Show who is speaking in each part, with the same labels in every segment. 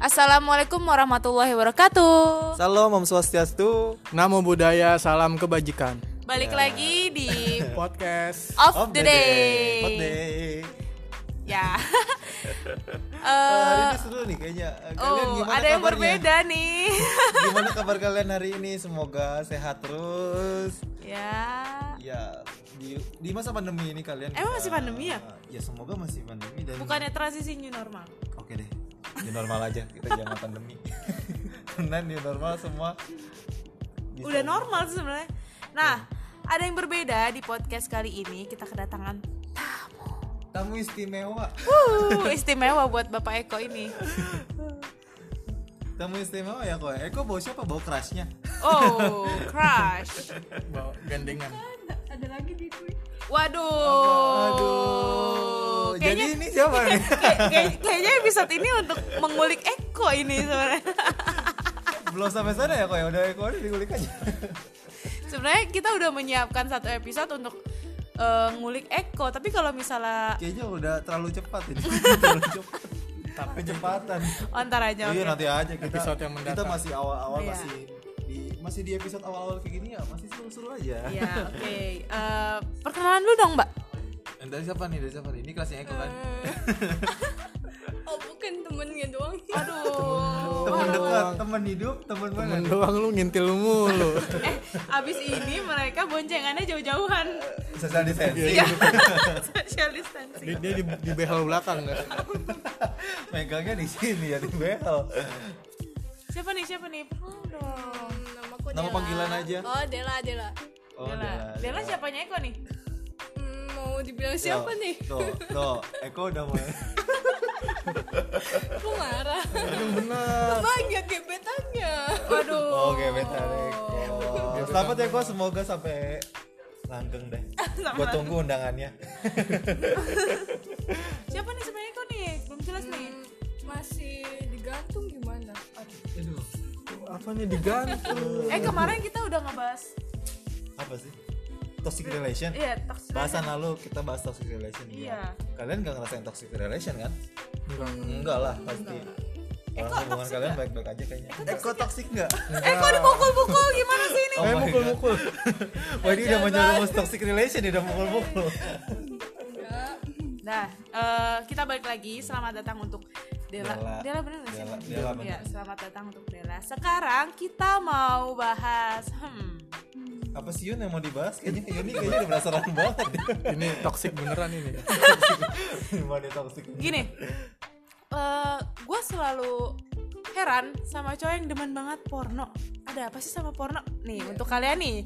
Speaker 1: Assalamualaikum warahmatullahi wabarakatuh.
Speaker 2: Salam Om Swastiastu.
Speaker 3: Namo budaya, salam kebajikan.
Speaker 1: Balik lagi di
Speaker 3: Podcast.
Speaker 1: Off,
Speaker 2: Of
Speaker 1: the,
Speaker 2: Ya. the
Speaker 1: Day.
Speaker 2: Of day.
Speaker 1: Ya.
Speaker 2: Eh, hari
Speaker 1: Eh,
Speaker 2: ini seru nih kayaknya. Eh, Kalian
Speaker 1: oh,
Speaker 2: gimana
Speaker 1: ada yang
Speaker 2: kabarnya?
Speaker 1: berbeda nih.
Speaker 2: Gimana kabar kalian hari ini? Semoga sehat terus.
Speaker 1: ya.
Speaker 2: Ya, di, di masa pandemi ini kalian
Speaker 1: Emang
Speaker 2: bisa-
Speaker 1: masih pandemi ya?
Speaker 2: Ya semoga masih pandemi dan
Speaker 1: Bukannya transisi new normal.
Speaker 2: Oke deh. Di normal aja kita jangan pandemi. Karena di normal semua bisa- Ya.
Speaker 1: Udah normal sih sebenarnya. Nah, ada yang berbeda di podcast kali ini. Kita kedatangan
Speaker 2: Tamu istimewa.
Speaker 1: Uh. Wuh, istimewa buat Bapak Eko ini.
Speaker 2: Tamu istimewa ya kok. Eko bawa siapa? Bawa crushnya.
Speaker 1: Oh, crush.
Speaker 3: Bawa gandengan.
Speaker 1: Waduh.
Speaker 2: Aduh. Jadi ini siapa nih?
Speaker 1: Kayak- kayak- kayaknya episode ini untuk mengulik Eko ini sebenarnya.
Speaker 2: Belum sampai sana ya kok ya. Udah Eko udah digulik aja.
Speaker 1: sebenarnya kita udah menyiapkan satu episode untuk eh, ngulik Eko, tapi kalau misalnya
Speaker 2: Kayaknya udah terlalu cepat ini. terlalu cepat.
Speaker 3: Tapi
Speaker 2: Kecepatan.
Speaker 1: oh, ntar aja.
Speaker 2: Iya
Speaker 1: oke.
Speaker 2: nanti aja kita
Speaker 3: Episode yang mendatang.
Speaker 2: kita masih awal-awal
Speaker 1: Iya.
Speaker 2: masih di masih di episode awal-awal kayak gini ya masih seru-seru aja.
Speaker 1: Iya, oke. Eh, perkenalan dulu dong, Mbak.
Speaker 2: Dan Dari siapa nih? Dari siapa nih? Ini kelasnya Eko kan.
Speaker 4: oh bukan temennya doang
Speaker 1: Aduh.
Speaker 2: Temen dekat, temen hidup, temen mana?
Speaker 3: Temen doang lu ngintil lu mulu.
Speaker 1: Eh, abis ini mereka boncengannya jauh-jauhan.
Speaker 2: Social distancing.
Speaker 1: Social distancing.
Speaker 3: Dia, dia di, di behel belakang kan.
Speaker 2: Megangnya di sini ya di bel.
Speaker 1: Siapa nih? Siapa nih? Aduh.
Speaker 4: Hmm, namaku
Speaker 2: Nama
Speaker 4: Della.
Speaker 2: panggilan aja.
Speaker 4: oh Dela Dela
Speaker 2: Oh,
Speaker 1: Dela. Dela
Speaker 2: Dela.
Speaker 1: siapanya Eko nih?
Speaker 4: Hmm, mau dibilang siapa
Speaker 2: Tuh,
Speaker 4: nih
Speaker 2: Tuh, tuh, Eko udah mulai.
Speaker 4: aku marah
Speaker 3: Yang bener.
Speaker 4: banyak
Speaker 1: ya,
Speaker 4: gebetannya
Speaker 1: Waduh.
Speaker 2: Oh, Oke, beta Eko. Selamat ya Eko, semoga sampai langgeng deh. Gue tunggu undangannya.
Speaker 1: Siapa nih sebenarnya Eko nih? Belum jelas nih.
Speaker 4: Hmm, masih digantung gimana Aduh.
Speaker 2: Aduh,
Speaker 3: Apa nih digantung?
Speaker 1: Eh kemarin kita udah ngebahas
Speaker 2: apa sih? Toxic relation.
Speaker 1: iya toxic
Speaker 2: Bahasan lalu kita bahas toxic relation juga.
Speaker 1: Iya.
Speaker 2: Kalian gak ngerasain toxic relation kan?
Speaker 3: Enggak.
Speaker 2: Enggak lah pasti. Kalau hubungan kalian baik-baik aja kayaknya. Eko toxic enggak?
Speaker 1: Eh kok dipukul-pukul gimana sih ini?
Speaker 2: Oh
Speaker 3: Eh
Speaker 2: my God.
Speaker 3: mukul-mukul.
Speaker 2: Wah ini udah menjerumus toxic relation udah mukul-mukul.
Speaker 1: Nah, eh, kita balik lagi. Selamat datang untuk Dela.
Speaker 2: Dela.
Speaker 1: Dela, bener gak sih?
Speaker 2: Dela, Dela bener.
Speaker 1: Iya, selamat datang untuk Dela. Sekarang kita mau bahas hmm.
Speaker 2: Apa sih Yun yang mau dibahas? Kayaknya Yun ini kayaknya udah penasaran banget.
Speaker 3: Ini toxic beneran ini.
Speaker 2: Gimana toxic?
Speaker 1: Gini. Eh, gue selalu heran sama cowok yang demen banget porno. Ada apa sih sama porno? Nih,
Speaker 2: Iya.
Speaker 1: untuk kalian nih,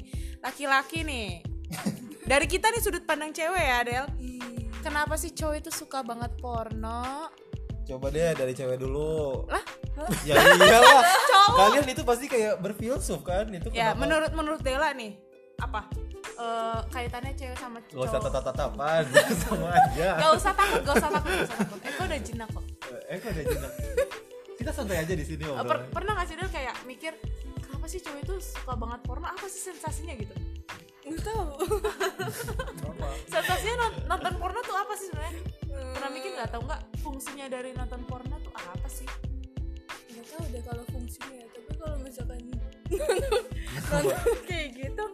Speaker 1: laki-laki nih. Dari kita nih sudut pandang cewek ya, Del. Kenapa sih cowok itu suka banget porno?
Speaker 2: Coba deh dari cewek dulu.
Speaker 1: Lah,
Speaker 2: Ya iyalah. Kalian itu pasti kayak berfilsuf kan? Itu
Speaker 1: Ya,
Speaker 2: kenapa?
Speaker 1: menurut menurut Dela nih apa Eh, kaitannya cewek sama
Speaker 2: Gak usah
Speaker 1: cowok?
Speaker 2: tatap-tatapan sama aja.
Speaker 1: Gak usah takut, gak usah takut, gak usah takut. Eko udah jinak kok.
Speaker 2: Eh kok ada jenak? Kita santai aja di sini
Speaker 1: Eh, per-
Speaker 2: ngobrolnya.
Speaker 1: pernah gak sih Del kayak mikir kenapa sih cowok itu suka banget porno? Apa sih sensasinya gitu?
Speaker 4: nggak tahu
Speaker 1: Sensasinya non- nonton porno tuh apa sih sebenarnya? Pernah mikir nggak atau nggak fungsinya dari nonton porno tuh apa sih?
Speaker 4: nggak tahu deh kalau fungsinya ya, tapi kalau misalkan kayak gitu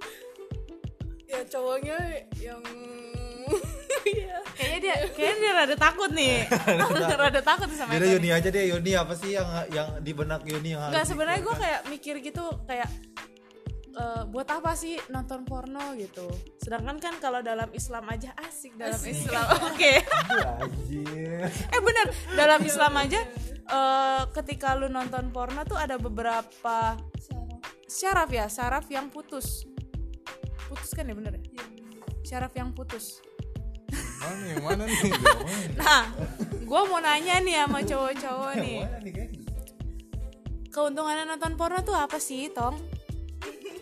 Speaker 4: ya cowoknya yang ya
Speaker 1: Kayaknya dia kayaknya dia rada takut nih. rada takut sama
Speaker 2: Jadi
Speaker 1: Eko
Speaker 2: Yuni aja deh, Yuni apa sih yang yang di benak Yuni yang harus
Speaker 1: Enggak sebenarnya gue
Speaker 2: dikeluarkan?
Speaker 1: kayak mikir gitu kayak eh, buat apa sih nonton porno gitu. Sedangkan kan kalau dalam Islam aja asik dalam Islam. Oke.
Speaker 2: Anjir.
Speaker 1: eh bener dalam Islam aja eh, ketika lu nonton porno tuh ada beberapa
Speaker 4: sarah
Speaker 1: syaraf ya syaraf yang putus. Putus kan ya bener ya? Syaraf yang putus.
Speaker 3: Mana yang mana nih?
Speaker 1: Nah, gue mau nanya nih sama cowok-cowok nih.
Speaker 2: Mana nih kayaknya?
Speaker 1: keuntungannya nonton porno tuh apa sih, Tong?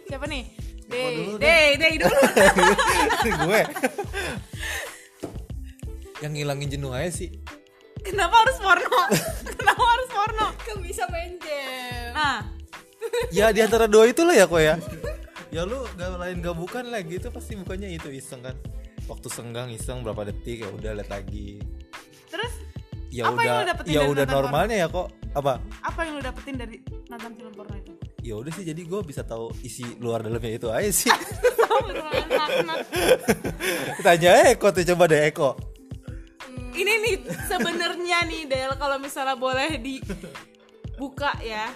Speaker 1: Siapa nih? Dey,
Speaker 2: dulu
Speaker 1: dey, dey dulu.
Speaker 2: gue. ya? yang ngilangin jenuh aja sih.
Speaker 1: Kenapa harus porno? Kenapa harus porno?
Speaker 4: kan bisa main game
Speaker 1: Nah,
Speaker 2: Ya di antara dua itu lah ya kok ya. ya lu gak lain gak bukan lah gitu pasti bukannya itu iseng kan. Waktu senggang iseng berapa detik ya udah lihat lagi.
Speaker 1: terus
Speaker 2: Ya
Speaker 1: Apa yang
Speaker 2: udah
Speaker 1: lu dapetin
Speaker 2: ya
Speaker 1: dari
Speaker 2: udah
Speaker 1: nonton
Speaker 2: normalnya ya kok. apa
Speaker 1: apa yang lu dapetin dari nonton film porno itu
Speaker 2: ya udah sih jadi gue bisa tahu isi luar dalamnya itu aja sih tanya Eko tuh coba deh Eko
Speaker 1: ini nih sebenarnya nih Del kalau misalnya boleh dibuka ya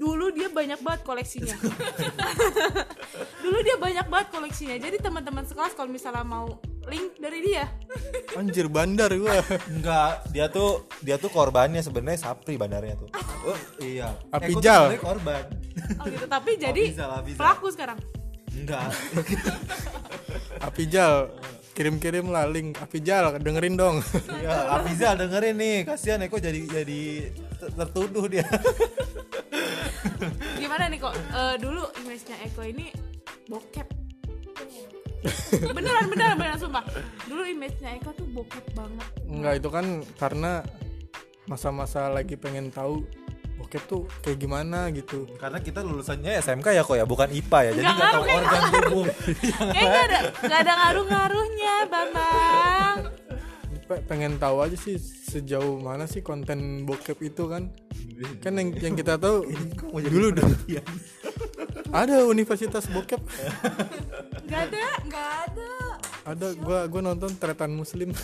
Speaker 1: dulu dia banyak banget koleksinya dulu dia banyak banget koleksinya jadi teman-teman sekelas kalau misalnya mau link dari dia
Speaker 3: Anjir bandar gua.
Speaker 2: enggak dia tuh dia tuh korbannya sebenarnya Sapri bandarnya tuh oh, iya Eko tuh
Speaker 3: Apijal.
Speaker 2: sebenarnya korban
Speaker 1: oh gitu tapi jadi
Speaker 2: bisa lah, bisa.
Speaker 1: pelaku sekarang
Speaker 2: enggak
Speaker 3: Apijal kirim-kirim lah link Apijal dengerin dong.
Speaker 2: iya Abizal dengerin nih kasihan Eko jadi jadi ter- tertuduh dia
Speaker 1: gimana nih kok Eh, dulu image-nya Eko ini bokep beneran beneran beneran sumpah dulu image-nya Eko tuh bokep banget
Speaker 3: Enggak itu kan karena masa-masa lagi pengen tahu bokep tuh kayak gimana gitu.
Speaker 2: karena kita lulusannya SMK ya kok ya bukan IPA ya jadi
Speaker 1: Nggak
Speaker 2: nggak tahu
Speaker 1: ngaruh, nggak
Speaker 2: organ tubuh
Speaker 1: Kayaknya nggak ada nggak ada ngaruh-ngaruhnya Bambang
Speaker 3: Pe- pengen tahu aja sih sejauh mana sih konten bokep itu kan. Kan yang yang kita tahu dulu udah ada universitas bokep.
Speaker 1: nggak ada
Speaker 4: Nggak ada.
Speaker 3: Ada gua gua nonton Tretan Muslim.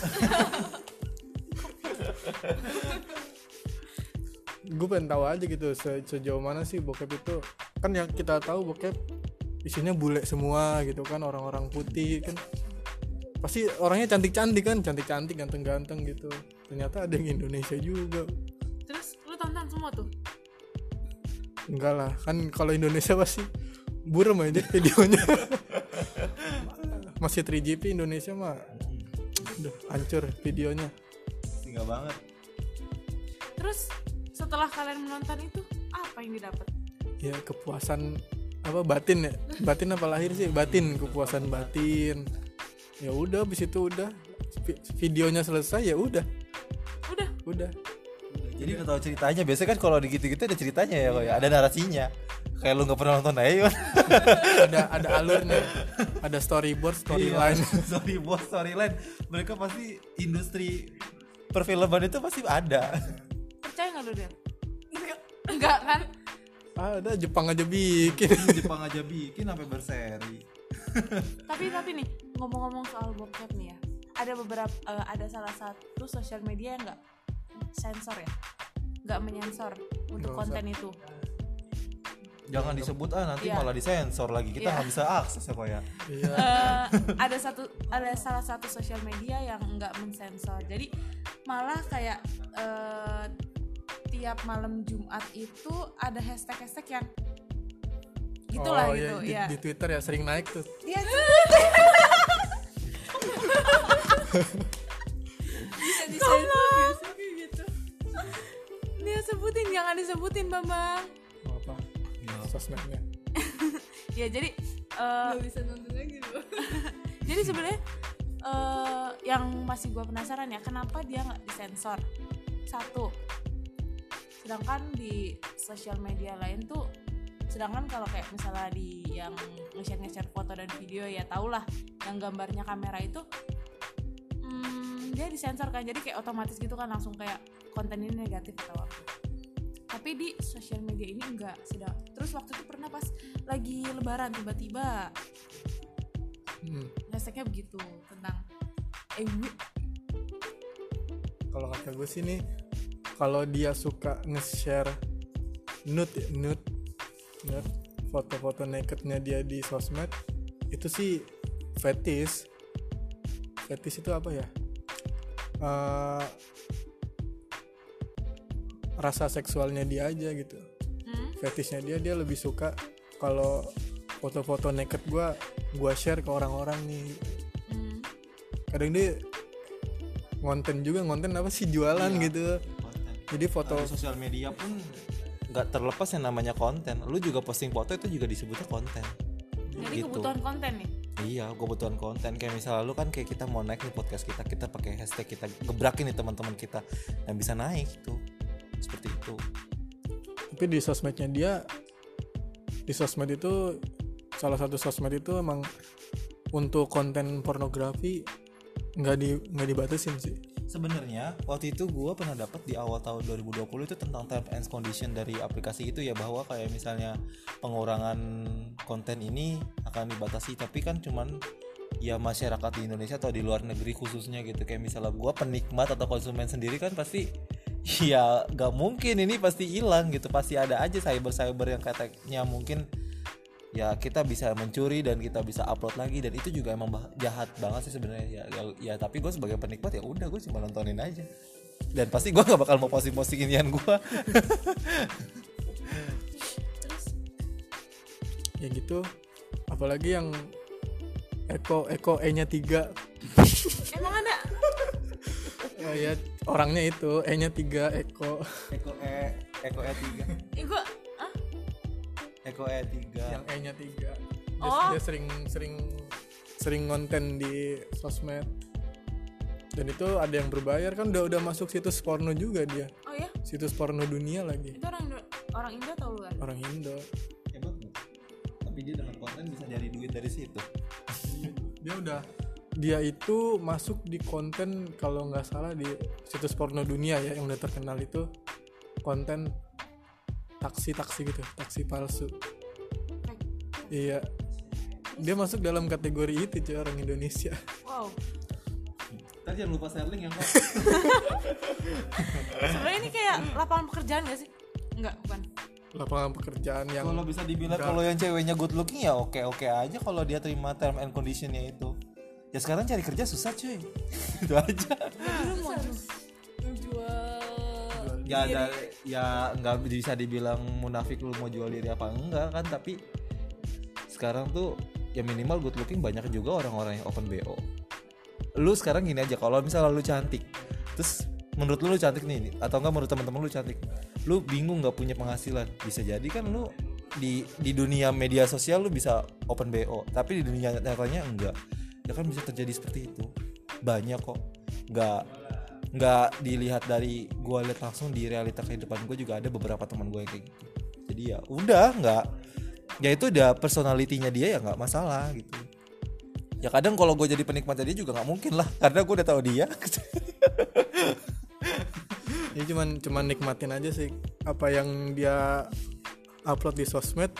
Speaker 3: gue pengen tahu aja gitu se- sejauh mana sih bokep itu kan yang kita tahu bokep isinya bule semua gitu kan orang-orang putih kan pasti orangnya cantik-cantik kan cantik-cantik ganteng-ganteng gitu ternyata ada yang Indonesia juga
Speaker 1: terus lu tonton semua tuh
Speaker 3: enggak lah kan kalau Indonesia pasti burem aja videonya masih 3GP Indonesia mah udah hancur videonya
Speaker 2: Enggak banget
Speaker 1: terus setelah kalian menonton itu apa yang didapat
Speaker 3: ya kepuasan apa batin ya batin apa lahir sih batin kepuasan batin ya udah abis itu udah Vi- videonya selesai ya udah
Speaker 1: udah
Speaker 3: udah
Speaker 2: Jadi udah tahu ceritanya. Biasanya kan kalau di gitu-gitu ada ceritanya ya, kok ya. Ada narasinya. Kayak lu nggak pernah nonton aja. Yon.
Speaker 3: ada ada alurnya ada storyboard storyline
Speaker 2: Iya. sorry bos, sorry lain. Mereka pasti industri perfilman itu pasti ada.
Speaker 1: percaya nggak lu Del enggak kan
Speaker 3: ada Ah, Jepang aja bikin
Speaker 2: Jepang aja bikin sampai berseri.
Speaker 1: tapi tapi nih ngomong-ngomong soal bokep nih ya ada beberapa eh, ada salah satu sosial media yang nggak sensor ya nggak menyensor untuk
Speaker 3: Nggak
Speaker 1: konten itu
Speaker 2: Jangan disebut ah nanti
Speaker 1: Iya.
Speaker 2: malah disensor lagi. Kita
Speaker 1: Iya.
Speaker 2: nggak bisa akses ya, kok ya.
Speaker 3: iya
Speaker 1: Eh, ada satu ada salah satu sosial media yang nggak mensensor jadi malah kayak eh, tiap malam Jumat itu ada hashtag hashtag yang gitulah
Speaker 3: Oh, iya,
Speaker 1: gitu
Speaker 3: di,
Speaker 1: ya
Speaker 3: di Twitter ya sering naik tuh
Speaker 1: Iya,
Speaker 4: Bisa disensor nggak sih kayak gitu.
Speaker 1: dia sebutin jangan disebutin bambang
Speaker 3: Mau apa
Speaker 2: Iya,
Speaker 3: sosmednya
Speaker 1: ya jadi eh,
Speaker 4: Nggak bisa nonton lagi loh.
Speaker 1: jadi sebenarnya eh, yang masih gua penasaran ya kenapa dia nggak disensor satu sedangkan di sosial media lain tuh sedangkan kalau kayak misalnya di yang nge-share nge-share foto dan video ya tau lah yang gambarnya kamera itu hmm, dia disensor kan jadi kayak otomatis gitu kan langsung kayak konten ini negatif atau apa tapi di sosial media ini enggak sedang terus waktu itu pernah pas lagi lebaran tiba-tiba
Speaker 3: Hmm,
Speaker 1: hashtagnya begitu tentang eh wi-
Speaker 3: kalau kata gue sih nih kalau dia suka nge-share nude ya, nude nude foto-foto nakednya dia di sosmed itu sih fetish fetish itu apa ya Eh, rasa seksualnya dia aja gitu
Speaker 1: hmm?
Speaker 3: fetishnya dia dia lebih suka kalau foto-foto naked gua gua share ke orang-orang nih
Speaker 1: Hmm.
Speaker 3: kadang dia ngonten juga ngonten apa sih jualan gitu
Speaker 2: ya.
Speaker 3: jadi foto
Speaker 2: Atau sosial media pun nggak terlepas yang namanya konten. Lu juga posting foto itu juga disebutnya konten.
Speaker 1: jadi
Speaker 2: Gitu.
Speaker 1: kebutuhan konten nih
Speaker 2: Iya, kebutuhan konten kayak misalnya lu kan kayak kita mau naik nih podcast kita, kita pakai hashtag kita gebrakin nih teman-teman kita yang bisa naik itu. Seperti itu.
Speaker 3: tapi di sosmednya dia di sosmed itu salah satu sosmed itu emang untuk konten pornografi nggak di nggak dibatasin sih
Speaker 2: sebenarnya waktu itu gue pernah dapat di awal tahun 2020 itu tentang terms and condition dari aplikasi itu ya bahwa kayak misalnya pengurangan konten ini akan dibatasi tapi kan cuman ya masyarakat di Indonesia atau di luar negeri khususnya gitu kayak misalnya gue penikmat atau konsumen sendiri kan pasti ya gak mungkin ini pasti hilang gitu pasti ada aja cyber cyber yang katanya mungkin ya kita bisa mencuri dan kita bisa upload lagi dan itu juga emang bah- jahat banget sih sebenarnya ya, ya, ya tapi gue sebagai penikmat ya udah gue cuma nontonin aja dan pasti gue gak bakal mau posting posting inian gue
Speaker 4: terus
Speaker 3: ya gitu apalagi yang Eko Eko E nya tiga
Speaker 1: Emang ada?
Speaker 3: ya, ya, orangnya itu E nya tiga Eko
Speaker 2: Eko E Eko E tiga
Speaker 1: Ih, gua ah,
Speaker 2: Eko E tiga
Speaker 3: yang E nya tiga dia,
Speaker 1: Oh.
Speaker 3: dia sering sering sering konten di sosmed dan itu ada yang berbayar kan udah udah masuk situs porno juga dia
Speaker 1: Oh ya,
Speaker 3: situs porno dunia lagi
Speaker 1: itu orang Indo- orang Indo atau luar?
Speaker 3: orang Indo
Speaker 2: hebat nggak? tapi dia dengan konten bisa nyari duit dari situ
Speaker 3: dia udah dia itu masuk di konten kalau nggak salah di situs porno dunia ya yang udah terkenal itu konten taksi taksi gitu taksi palsu iya dia masuk dalam kategori itu cuy orang Indonesia
Speaker 1: Wow.
Speaker 2: tadi jangan lupa sharing ya kok
Speaker 1: Sebenarnya ini kayak lapangan pekerjaan gak sih? Enggak, bukan.
Speaker 3: lapangan pekerjaan yang
Speaker 2: kalau bisa dibilang
Speaker 3: Enggak.
Speaker 2: kalau yang ceweknya good looking ya oke oke aja kalau dia terima term and conditionnya itu ya sekarang cari kerja susah cuy itu aja
Speaker 1: Dulu mau
Speaker 4: menjual
Speaker 2: ya ada ya nggak bisa dibilang munafik lu mau jual diri apa enggak kan tapi sekarang tuh ya minimal good looking banyak juga orang-orang yang open bo lu sekarang gini aja kalau misalnya lu cantik terus menurut lu, lu cantik nih atau enggak menurut teman-teman lu cantik lu bingung nggak punya penghasilan bisa jadi kan lu di di dunia media sosial lu bisa open bo tapi di dunia nyatanya enggak ya kan bisa terjadi seperti itu banyak kok nggak nggak dilihat dari gua lihat langsung di realita kehidupan gue juga ada beberapa teman gue yang kayak gitu jadi ya udah nggak ya itu udah personalitinya dia ya nggak masalah gitu ya kadang kalau gue jadi penikmatnya dia juga nggak mungkin lah karena gue udah tahu dia
Speaker 3: ya cuman cuman nikmatin aja sih apa yang dia upload di sosmed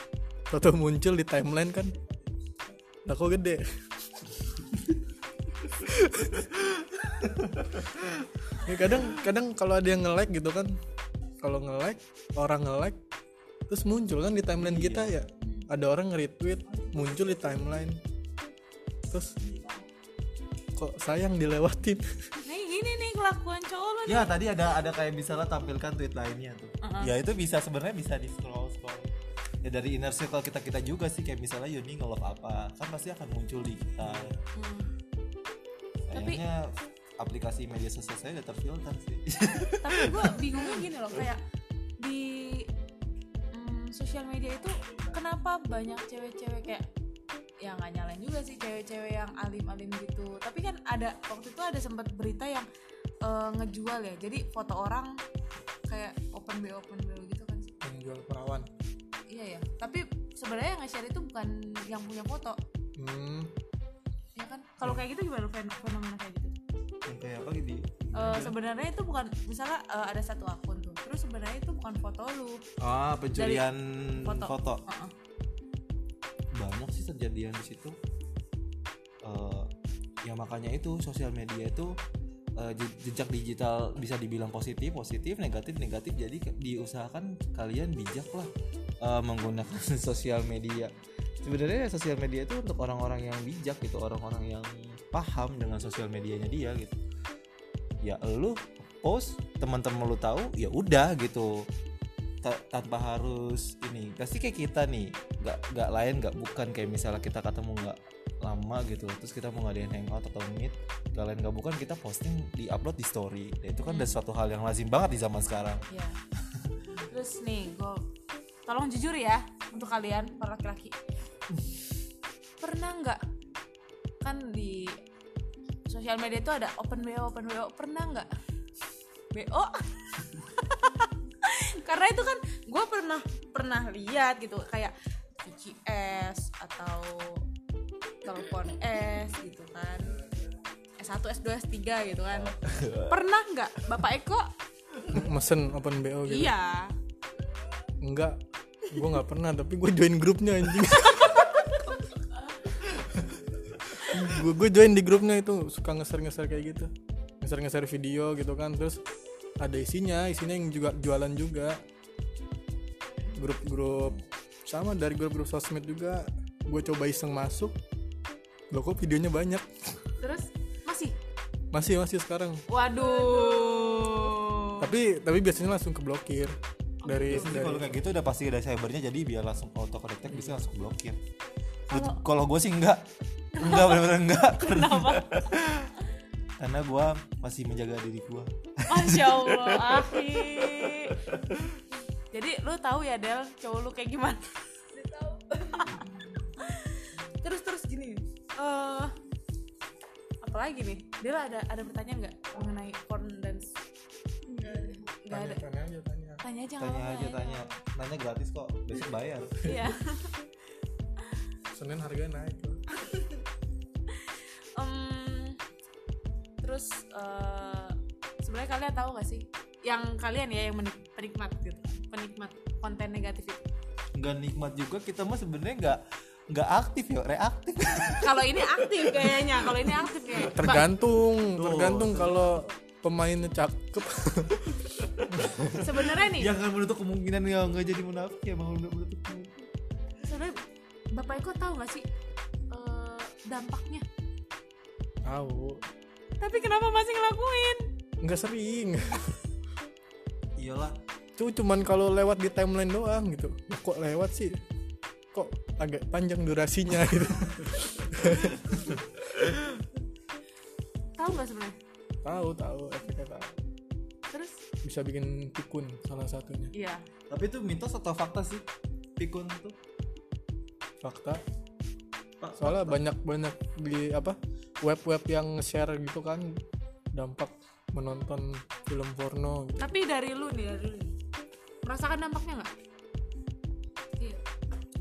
Speaker 3: atau muncul di timeline kan lah kok gede ya kadang kadang kalau ada yang nge-like gitu kan kalau nge-like orang nge-like terus muncul kan di timeline kita ya ada orang nge-retweet muncul di timeline terus kok sayang dilewatin
Speaker 1: Nih gini nih kelakuan cowok lu. nih.
Speaker 2: ya tadi ada ada kayak misalnya tampilkan tweet lainnya tuh ya itu bisa sebenarnya bisa di scroll scroll ya dari inner circle kita kita juga sih kayak misalnya Yuni nge-love apa kan pasti akan muncul di kita
Speaker 1: Hmm. Tapi-
Speaker 2: sayangnya aplikasi media sosial saya udah terfilter sih
Speaker 1: Tapi gua bingungnya gini loh kayak di mm, sosial media itu kenapa banyak cewek-cewek kayak ya nggak nyalain juga sih cewek-cewek yang alim-alim gitu tapi kan ada waktu itu ada sempat berita yang eh, ngejual ya jadi foto orang kayak open bo open bo gitu kan sih
Speaker 3: yang jual perawan
Speaker 1: Iya ya, tapi sebenarnya yang nge-share itu bukan yang punya foto,
Speaker 3: hmm.
Speaker 1: ya kan? Kalau kayak gitu gimana fen- fenomena kayak gitu?
Speaker 2: yang kayak apa gitu
Speaker 1: Eh, sebenarnya itu bukan misalnya eh, ada satu akun tuh, terus sebenarnya itu bukan foto lu.
Speaker 2: ah pencurian
Speaker 1: foto.
Speaker 2: foto.
Speaker 1: Heeh.
Speaker 2: banyak sih terjadian di situ Eh, ya makanya itu sosial media itu eh, je- jejak digital bisa dibilang positif positif negatif negatif jadi ke- diusahakan kalian bijak lah eh, menggunakan sosial media sebenarnya sosial media itu untuk orang-orang yang bijak gitu orang-orang yang paham dengan sosial medianya dia gitu ya lu post teman-teman lu tahu ya udah gitu Ta- tanpa harus ini pasti kayak kita nih nggak nggak lain nggak bukan kayak misalnya kita ketemu nggak lama gitu terus kita mau ngadain hangout atau meet nggak lain nggak bukan kita posting di upload di story ya, itu kan udah suatu hal yang lazim banget di zaman sekarang
Speaker 1: Iya. terus nih, gue tolong jujur ya untuk kalian para laki-laki. Pernah nggak kan di sosial media itu ada open bo open bo pernah nggak bo karena itu kan gue pernah pernah lihat gitu kayak VCS atau telepon S gitu kan S1, S2, S3 gitu kan. Pernah nggak Bapak Eko?
Speaker 3: mesen open bo gitu
Speaker 1: Iya.
Speaker 3: enggak gue nggak pernah tapi gue join grupnya anjing gue gue join di grupnya itu suka ngeser ngeser kayak gitu ngeser ngeser video gitu kan terus ada isinya isinya yang juga jualan juga grup-grup sama dari grup-grup sosmed juga gue coba iseng masuk lo kok videonya banyak
Speaker 1: Terus masih.
Speaker 3: masih masih sekarang
Speaker 1: Waduh.
Speaker 3: tapi tapi biasanya langsung keblokir dari
Speaker 2: Jadi
Speaker 3: dari
Speaker 2: kalau kayak gitu udah pasti ada cybernya jadi biar langsung auto connect bisa langsung blokir. Menurut- Kalau gue sih enggak, enggak benar-benar enggak. Kenapa? Karena gue masih menjaga diri gue.
Speaker 1: Masya Allah, Ahi. Jadi lu tahu ya Del, cowok lu kayak gimana?
Speaker 4: udah tahu
Speaker 1: Terus terus gini. Eh apalagi nih? Del ada ada pertanyaan nggak mengenai porn dan nggak ada.
Speaker 3: tanya aja tanya
Speaker 1: Tanya aja nggak
Speaker 2: Tanya
Speaker 1: apa-apa,
Speaker 2: aja
Speaker 1: ya.
Speaker 2: tanya, nanya gratis kok, besok bayar.
Speaker 1: Iya.
Speaker 3: senin harganya naik loh.
Speaker 1: Em, terus eh sebenarnya kalian tahu gak sih yang kalian ya yang menik- penikmat gitu penikmat konten negatif itu
Speaker 2: Enggak nikmat juga kita mah sebenarnya enggak enggak aktif ya, reaktif.
Speaker 1: kalau ini aktif kayaknya kalau ini aktif ya
Speaker 3: tergantung tergantung kalau pemainnya cakep
Speaker 1: sebenarnya
Speaker 3: Ya.
Speaker 1: nih
Speaker 2: Jangan menutup kemungkinan ya enggak jadi munafik ya, mau menutup kemungkinan.
Speaker 1: sebenarnya bapak Eko tahu gak sih eh, dampaknya
Speaker 3: tahu
Speaker 1: tapi kenapa masih ngelakuin
Speaker 3: nggak sering
Speaker 2: Iyalah,
Speaker 3: itu cuman kalau lewat di timeline doang gitu Lah, kok lewat sih kok agak panjang durasinya gitu
Speaker 1: tahu gak sebenarnya
Speaker 3: tahu tahu efeknya tahu
Speaker 1: terus
Speaker 3: bisa bikin pikun salah satunya
Speaker 1: iya
Speaker 2: tapi itu mitos atau fakta sih? Pikun tuh.
Speaker 3: fakta
Speaker 2: Pak, Eh,
Speaker 3: soalnya banyak banyak di apa web-web yang share gitu kan dampak menonton film porno gitu.
Speaker 1: tapi dari lu nih dari lu nih. merasakan dampaknya nggak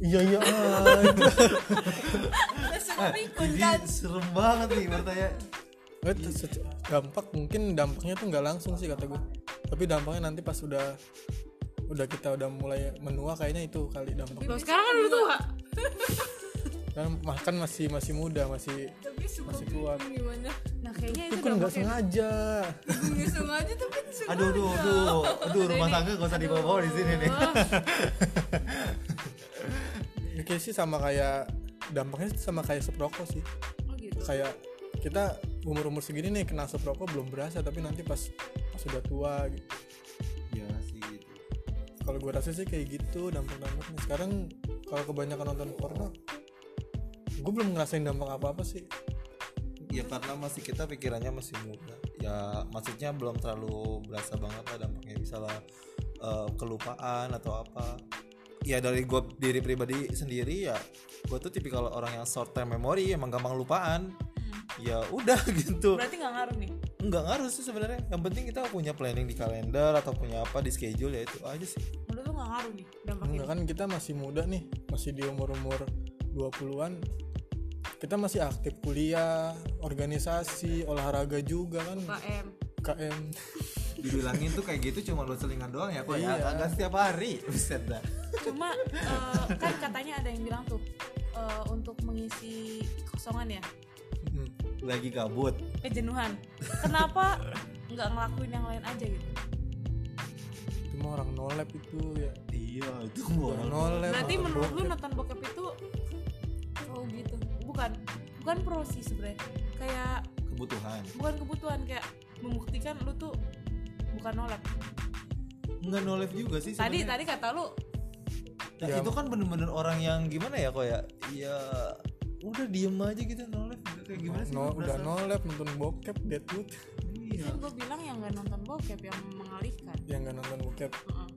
Speaker 1: iya
Speaker 3: iya iya
Speaker 2: Ini serem banget nih bertanya.
Speaker 3: Eh, itu sece- dampak mungkin dampaknya tuh nggak langsung sih kata gue tapi dampaknya nanti pas udah udah kita udah mulai menua kayaknya itu kali dampak
Speaker 1: Loh, sekarang kan udah tua
Speaker 3: kan makan masih masih muda masih
Speaker 4: tapi suka
Speaker 3: Masih kuat.
Speaker 4: bingung gimana
Speaker 1: nah kayaknya itu
Speaker 3: pikun kan nggak sengaja
Speaker 4: bingung sengaja tapi suka
Speaker 2: Aduh, aduh, aduh, aduh, rumah tangga gak usah dibawa-bawa di sini nih.
Speaker 3: Ini kayak sih sama kayak dampaknya sama kayak seproko sih
Speaker 1: Oh gitu.
Speaker 3: kayak kita umur umur segini nih kena seproko belum berasa tapi nanti pas pas udah tua gitu
Speaker 2: Ya sih gitu.
Speaker 3: kalau gue rasa sih kayak gitu dampak dampaknya sekarang kalau kebanyakan nonton porno gue belum ngerasain dampak apa apa sih
Speaker 2: Ya karena masih kita pikirannya masih muda. Ya maksudnya belum terlalu berasa banget lah dampaknya misalnya eh, kelupaan atau apa. Ya dari gue diri pribadi sendiri ya gue tuh tipikal orang yang short term memory emang gampang lupaan. Ya udah gitu.
Speaker 1: Berarti nggak ngaruh nih.
Speaker 2: Nggak ngaruh sih sebenarnya. Yang penting kita punya planning di kalender atau punya apa di schedule ya itu aja sih.
Speaker 1: Menurut lu nggak ngaruh nih dampaknya.
Speaker 3: Enggak kan kita masih muda nih, masih di umur-umur 20-an. Kita masih aktif kuliah, organisasi, olahraga juga kan,
Speaker 1: KM.
Speaker 3: KM.
Speaker 2: dibilangin tuh kayak gitu cuma lo selingan doang ya kok ya
Speaker 3: Iya.
Speaker 2: kagak setiap hari buset dah
Speaker 1: Cuma eh, kan katanya ada yang bilang tuh eh, untuk mengisi kosongan ya,
Speaker 3: Mm.
Speaker 2: lagi gabut
Speaker 1: kejenuhan. Kenapa nggak ngelakuin yang lain aja gitu?
Speaker 3: Itu mah orang nolep itu ya.
Speaker 2: iya itu
Speaker 3: Orang nolep.
Speaker 1: Berarti
Speaker 3: nonton
Speaker 1: menurut lu
Speaker 3: bokep.
Speaker 1: nonton bokep itu
Speaker 4: oh gitu
Speaker 1: bukan bukan prosi sebenarnya. Kayak
Speaker 2: kebutuhan
Speaker 1: bukan kebutuhan kayak membuktikan lu tuh bukan nolak.
Speaker 2: nggak no life juga sih
Speaker 1: Tadi
Speaker 2: sebenarnya.
Speaker 1: tadi kata lu
Speaker 2: Nah,
Speaker 3: Ya.
Speaker 2: itu kan bener-bener orang yang gimana ya kok ya ya udah diem aja gitu no life kayak gimana sih
Speaker 3: No,
Speaker 2: lo
Speaker 3: udah
Speaker 2: perasaan?
Speaker 3: nolep nonton bokep deadwood
Speaker 2: iya
Speaker 1: kan gue bilang yang nggak nonton bokep yang mengalihkan.
Speaker 3: yang Ya, nggak nonton bokep
Speaker 1: Heeh.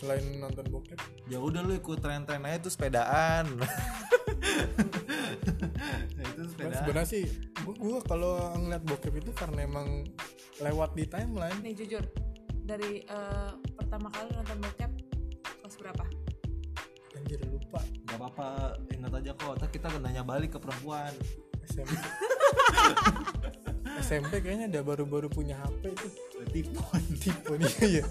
Speaker 3: selain nonton bokep
Speaker 2: ya udah lu ikut tren-tren aja tuh sepedaan nah, itu
Speaker 3: Cuman
Speaker 2: sepedaan
Speaker 3: sebenarnya sih gua, gua kalau ngeliat bokep itu karena emang lewat di timeline
Speaker 1: Nih jujur dari eh, pertama kali nonton bokep kelas berapa?
Speaker 3: anjir lupa
Speaker 2: nggak apa-apa ingat aja kok ntar kita nanya balik ke perempuan
Speaker 3: SMP SMP kayaknya ada baru-baru punya HP itu
Speaker 2: berarti pon
Speaker 3: tipe nih ya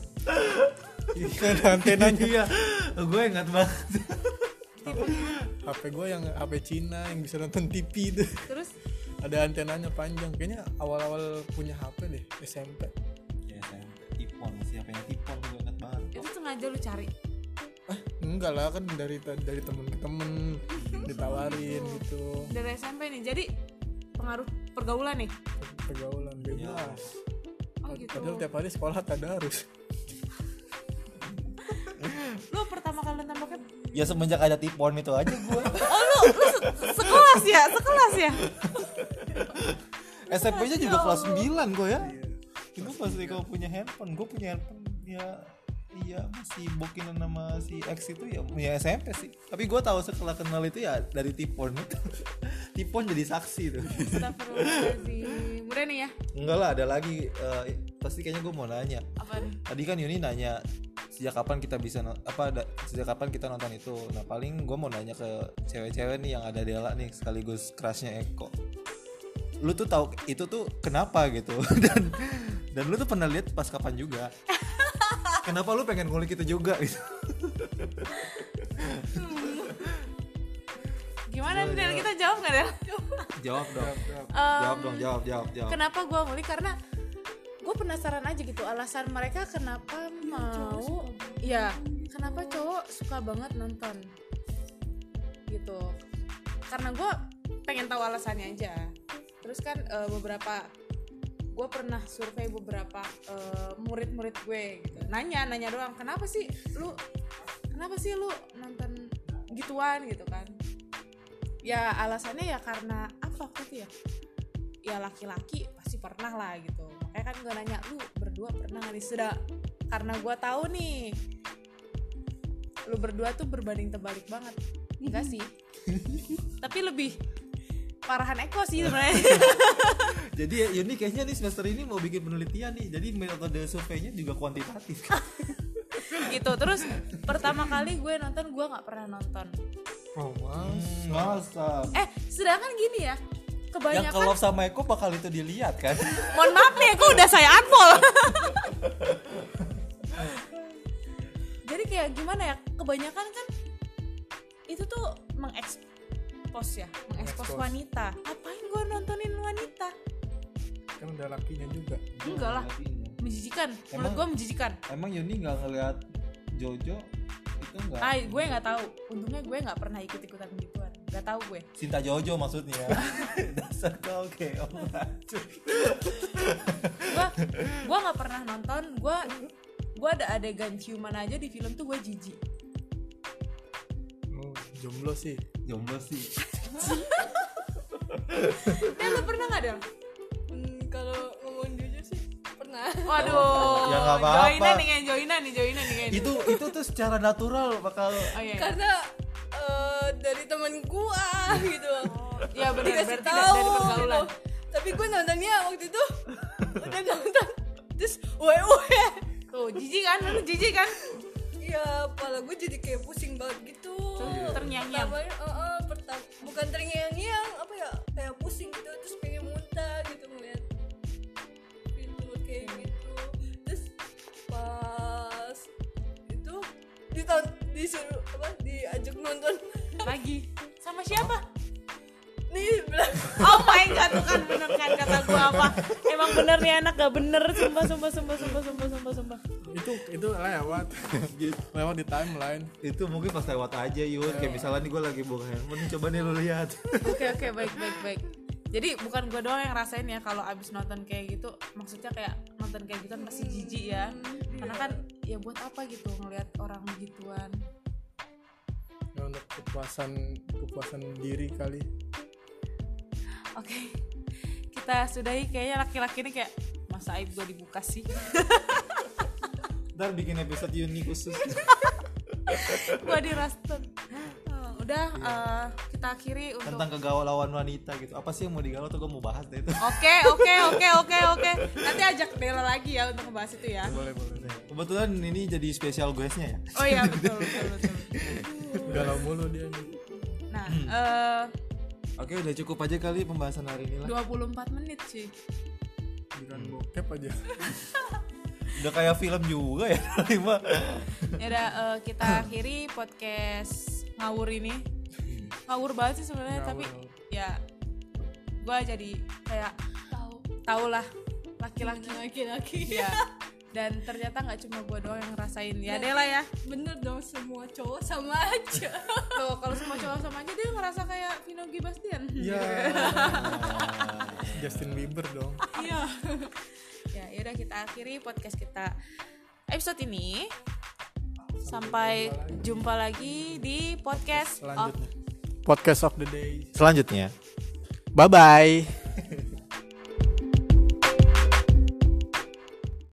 Speaker 3: ada antenanya
Speaker 2: iya gue ingat banget
Speaker 3: HP gue yang HP Cina yang bisa nonton TV itu
Speaker 1: terus
Speaker 3: ada antenanya panjang kayaknya awal-awal punya HP deh SMP
Speaker 2: ya tipon siapa yang tipon gue ingat banget
Speaker 1: itu sengaja lu cari
Speaker 3: ah enggak lah kan dari dari temen ke temen ditawarin gitu
Speaker 1: dari SMP nih jadi pengaruh pergaulan nih
Speaker 3: pergaulan bebas
Speaker 1: oh
Speaker 3: padahal
Speaker 1: gitu
Speaker 3: tiap hari sekolah tadarus
Speaker 1: lu pertama kali nonton bokep
Speaker 2: ya semenjak ada tipon itu aja gue
Speaker 1: oh lu lu se- sekelas ya sekelas ya
Speaker 2: SMP nya juga kelas 9 gue ya itu pasti kau punya handphone gue punya handphone ya iya si bokinan nama si X itu ya punya SMP sih tapi gue tahu setelah kenal itu ya dari tipon itu tipon jadi saksi tuh
Speaker 1: Astagfirullahaladzim udah nih ya
Speaker 2: enggak lah ada lagi eh, pasti kayaknya gue mau nanya
Speaker 1: apa nih
Speaker 2: tadi kan Yuni nanya sejak kapan kita bisa no- apa da- sejak kapan kita nonton itu nah paling gue mau nanya ke cewek-cewek nih yang ada Dela nih sekaligus crushnya Eko lu tuh tahu itu tuh kenapa gitu dan dan lu tuh pernah lihat pas kapan juga kenapa lu pengen ngulik itu juga gitu
Speaker 1: gimana nih Del kita jawab nggak Del
Speaker 2: jawab dong
Speaker 1: Em,
Speaker 2: jawab dong jawab jawab jawab
Speaker 1: kenapa gue ngulik karena gue penasaran aja gitu alasan mereka kenapa mau ya kenapa cowok suka banget nonton gitu karena gue pengen tahu alasannya aja terus kan eh, beberapa gue pernah survei beberapa eh, murid-murid gue gitu nanya nanya doang kenapa sih lu kenapa sih lu nonton gituan gitu kan ya alasannya ya karena apa waktu itu ya ya laki-laki pasti pernah lah gitu makanya kan gue nanya lu berdua pernah nggak nih sudah karena gue tahu nih lu berdua tuh berbanding terbalik banget enggak sih tapi lebih parahan Eko sih sebenarnya
Speaker 2: jadi ya, Yuni kayaknya nih semester ini mau bikin penelitian nih jadi metode surveinya juga kuantitatif
Speaker 1: gitu terus pertama kali gue nonton gue nggak pernah nonton
Speaker 3: oh wow
Speaker 2: Hmm, masa
Speaker 1: eh sedangkan gini ya
Speaker 2: yang
Speaker 1: kebanyakan
Speaker 2: kalau sama Eko bakal itu dilihat kan
Speaker 1: mohon maaf nih aku udah saya unfollow jadi kayak gimana ya kebanyakan kan itu tuh mengekspos ya mengekspos
Speaker 3: Mengekspos.
Speaker 1: wanita ngapain gue nontonin wanita
Speaker 3: kan ada lakinya juga
Speaker 1: enggak lah menjijikan menurut
Speaker 2: Emang-
Speaker 1: gue menjijikan
Speaker 2: Iya. Emang Yuni nggak ngelihat Jojo itu nggak?
Speaker 1: ah gue nggak tahu untungnya gue nggak pernah ikut ikutan begituan nggak tahu gue
Speaker 2: Cinta Jojo maksudnya. Dasar kau oke.
Speaker 1: gue gue nggak pernah nonton gue gue ada adegan ciuman aja di film tuh gue jijik
Speaker 3: oh, jomblo sih
Speaker 2: Jomblo sih.
Speaker 1: eh lu pernah nggak dong
Speaker 4: Hmm, kalau ngomong jujur sih pernah.
Speaker 1: Waduh,
Speaker 2: Ya, nggak apa-apa. Iya,
Speaker 1: joinan nih, kayaknya, joinan nih, joinan nih, kayaknya.
Speaker 2: itu itu tuh secara natural bakal
Speaker 1: Oh, iya, iya.
Speaker 4: Karena eh, dari temen gua gitu.
Speaker 1: Iya benar,
Speaker 4: Dikasih
Speaker 1: berarti da-
Speaker 4: tahu.
Speaker 1: dari pergaulan.
Speaker 4: gitu. Tapi gua nontonnya waktu itu udah nonton terus we we.
Speaker 1: Tuh, jijik kan? Lu jijik kan?
Speaker 4: Ya, kepala gua jadi kayak pusing banget gitu.
Speaker 1: Terngiang-ngiang.
Speaker 4: Pertamanya, eh, eh, pertam- bukan terngiang-ngiang, apa ya? Kayak pusing gitu, terus pengen muntah gitu ngeliat gitu kayak gitu. Terus pas itu diton- disuruh apa diajak nonton
Speaker 1: Lagi. Sama siapa?
Speaker 4: nih bilang
Speaker 1: Oh my god, tuh kan bener kan kata gua apa? Emang bener nih anak gak bener, sumpah sumpah sumpah sumpah sumpah sumpah sumpah.
Speaker 3: itu itu lewat lewat di timeline
Speaker 2: itu mungkin pas lewat aja Yun. Kayak misalnya nih gue lagi buka handphone nih, coba nih lu lihat.
Speaker 1: Oke oke baik baik baik. Jadi bukan gua doang yang rasain ya kalau abis nonton kayak gitu, maksudnya kayak nonton kayak gitu kan pasti jijik ya. Karena kan ya buat apa gitu ngelihat orang gituan.
Speaker 3: ya, untuk kepuasan kepuasan diri kali
Speaker 1: Oke. Kita sudahi kayaknya laki-laki ini kayak masa aib gue dibuka sih.
Speaker 2: Ntar bikin episode Yuni khusus.
Speaker 1: gue di roasted. Hmm, udah eh, kita akhiri untuk
Speaker 2: tentang kegalauan wanita gitu. Apa sih yang mau digalau tuh gue mau bahas deh itu.
Speaker 1: Oke, oke, oke, oke, oke. Nanti ajak Dela lagi ya untuk ngebahas itu ya.
Speaker 3: boleh boleh
Speaker 2: Kebetulan ini jadi spesial guestnya ya.
Speaker 1: Oh iya, betul, betul, betul.
Speaker 3: galau mulu dia nih
Speaker 1: Nah, eh
Speaker 2: Oke udah cukup aja kali pembahasan hari ini lah.
Speaker 1: 24 menit sih.
Speaker 3: bukan bokep aja
Speaker 2: Udah kayak film juga ya lima.
Speaker 1: ya udah eh, kita akhiri podcast ngawur ini ngawur banget sih sebenarnya tapi ya gue jadi kayak
Speaker 4: tahu
Speaker 1: tau lah laki-laki
Speaker 4: laki-laki
Speaker 1: ya dan ternyata nggak cuma gue doang yang ngerasain ya deh lah ya
Speaker 4: bener dong semua cowok sama aja
Speaker 1: tuh kalau semua cowok sama aja dia ngerasa kayak Vino G. Bastian
Speaker 3: ya Justin Bieber dong
Speaker 1: iya ya yaudah kita akhiri podcast kita episode ini sampai jumpa lagi di podcast of
Speaker 3: podcast of the day
Speaker 2: Selanjutnya.
Speaker 3: bye bye